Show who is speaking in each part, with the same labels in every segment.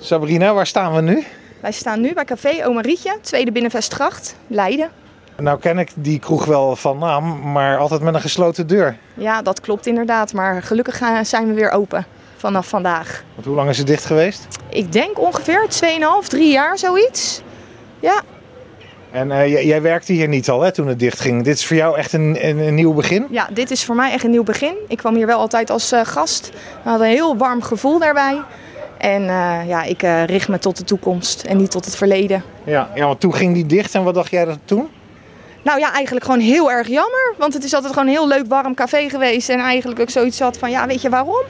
Speaker 1: Sabrina, waar staan we nu?
Speaker 2: Wij staan nu bij café Oma Rietje, Tweede Binnenvestgracht, Leiden.
Speaker 1: Nou ken ik die kroeg wel van naam, maar altijd met een gesloten deur.
Speaker 2: Ja, dat klopt inderdaad, maar gelukkig eh, zijn we weer open vanaf vandaag.
Speaker 1: Want hoe lang is het dicht geweest?
Speaker 2: Ik denk ongeveer 2,5, 3 jaar zoiets. Ja,
Speaker 1: En eh, jij- jij werkte hier niet al hè, toen het dicht ging. Dit is voor jou echt een, een, een nieuw begin.
Speaker 2: ja, dit is voor mij echt een nieuw begin. Ik kwam hier wel altijd als eh, gast. We hadden een heel warm gevoel daarbij. En eh, ja, ik eh, richt me tot de toekomst en niet tot het verleden.
Speaker 1: Ja. ja, want toen ging die dicht en wat dacht jij dat toen?
Speaker 2: Nou ja, eigenlijk gewoon heel erg jammer. Want het is altijd gewoon een heel leuk warm café geweest. En eigenlijk ook zoiets had van, ja, weet je waarom?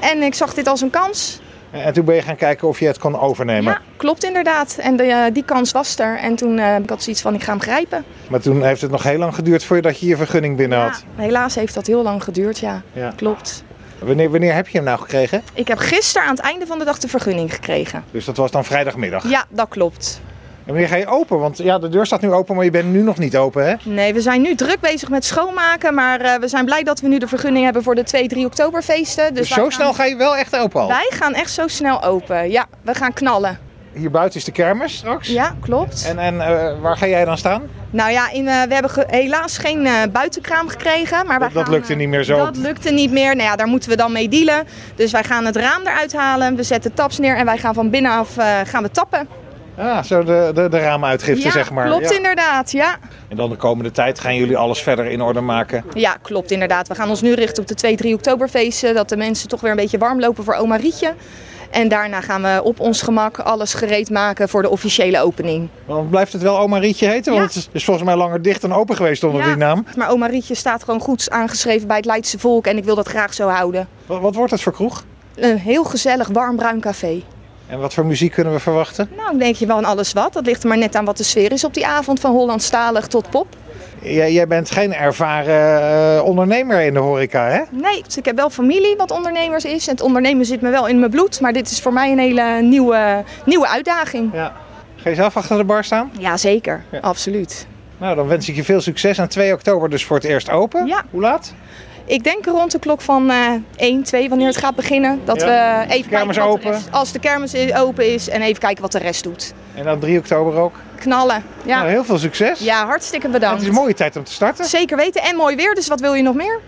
Speaker 2: En ik zag dit als een kans.
Speaker 1: En en toen ben je gaan kijken of je het kon overnemen.
Speaker 2: Ja, klopt inderdaad. En de, eh, die kans was er. En toen eh, ik had zoiets van, ik ga hem grijpen.
Speaker 1: Maar toen heeft het nog heel lang geduurd voordat je je vergunning binnen had.
Speaker 2: Ja, helaas heeft dat heel lang geduurd, ja.
Speaker 1: Ja.
Speaker 2: Klopt.
Speaker 1: Wanneer, wanneer heb je hem nou gekregen?
Speaker 2: Ik heb gisteren aan het einde van de dag de vergunning gekregen.
Speaker 1: Dus dat was dan vrijdagmiddag.
Speaker 2: Ja, dat klopt.
Speaker 1: En wanneer ga je open? Want ja, de deur staat nu open, maar je bent nu nog niet open, hè?
Speaker 2: Nee, we zijn nu druk bezig met schoonmaken. Maar eh, we zijn blij dat we nu de vergunning hebben voor de 2, 3 oktoberfeesten.
Speaker 1: Dus,
Speaker 2: wij
Speaker 1: zo
Speaker 2: gaan-
Speaker 1: snel ga je wel echt open al.
Speaker 2: Wij gaan echt zo snel open. Ja, we gaan knallen.
Speaker 1: Hier buiten is de kermis straks.
Speaker 2: Ja, klopt.
Speaker 1: En, en eh, waar ga jij dan staan?
Speaker 2: Nou ja, in, eh, we hebben ge- helaas geen eh, buitenkraam gekregen. Maar wij
Speaker 1: Dat- dat
Speaker 2: gaan,
Speaker 1: lukte
Speaker 2: eh,
Speaker 1: niet meer zo.
Speaker 2: Dat lukte niet meer. Nou ja, daar moeten we dan mee dealen. Dus wij gaan het raam eruit halen. We zetten taps neer en wij gaan van binnenaf eh, gaan we tappen.
Speaker 1: Ah, zo de, de, de raamuitgifte,
Speaker 2: ja,
Speaker 1: zeg maar.
Speaker 2: klopt
Speaker 1: Ja.
Speaker 2: inderdaad. Ja.
Speaker 1: En dan de komende tijd gaan jullie alles verder in orde maken.
Speaker 2: ja, klopt inderdaad. We gaan ons nu richten op de 2, 3 oktoberfeesten. Dat de mensen toch weer een beetje warm lopen voor oma Rietje. En daarna gaan we op ons gemak alles gereed maken voor de officiële opening.
Speaker 1: Want blijft het wel Oma Rietje heten? Want
Speaker 2: Ja.
Speaker 1: het is volgens mij langer dicht dan open geweest onder
Speaker 2: Ja.
Speaker 1: die naam.
Speaker 2: Maar oma Rietje staat gewoon goed aangeschreven bij het Leidse volk. En ik wil dat graag zo houden.
Speaker 1: Wat, wat wordt het voor kroeg?
Speaker 2: Een heel gezellig warm bruin café.
Speaker 1: En wat voor muziek kunnen we verwachten?
Speaker 2: Nou, denk je wel aan alles wat. Dat ligt er maar net aan wat de sfeer is op die avond. Van Hollandstalig tot pop.
Speaker 1: Jij, jij bent geen ervaren eh, ondernemer in de horeca, hè?
Speaker 2: Nee, dus ik heb wel familie wat ondernemers is. Het ondernemen zit me wel in mijn bloed. Maar dit is voor mij een hele nieuwe, nieuwe uitdaging.
Speaker 1: Ja. Ga je zelf achter de bar staan?
Speaker 2: Jazeker,
Speaker 1: Ja.
Speaker 2: absoluut.
Speaker 1: Nou, dan wens ik je veel succes. En 2 oktober dus voor het eerst open.
Speaker 2: Ja.
Speaker 1: Hoe laat?
Speaker 2: Ik denk rond de klok van eh 1, 2, wanneer het gaat beginnen. Dat
Speaker 1: Ja.
Speaker 2: we even
Speaker 1: kermis
Speaker 2: kijken wat de
Speaker 1: open.
Speaker 2: rest- als de kermis i- open is. En even kijken wat de rest doet.
Speaker 1: En dan 3 oktober ook.
Speaker 2: Knallen. Ja,
Speaker 1: Nou, heel veel succes.
Speaker 2: ja hartstikke
Speaker 1: Het
Speaker 2: bedankt.
Speaker 1: is een mooie tijd om te starten.
Speaker 2: Zeker weten. En mooi weer. Dus wat wil je nog meer?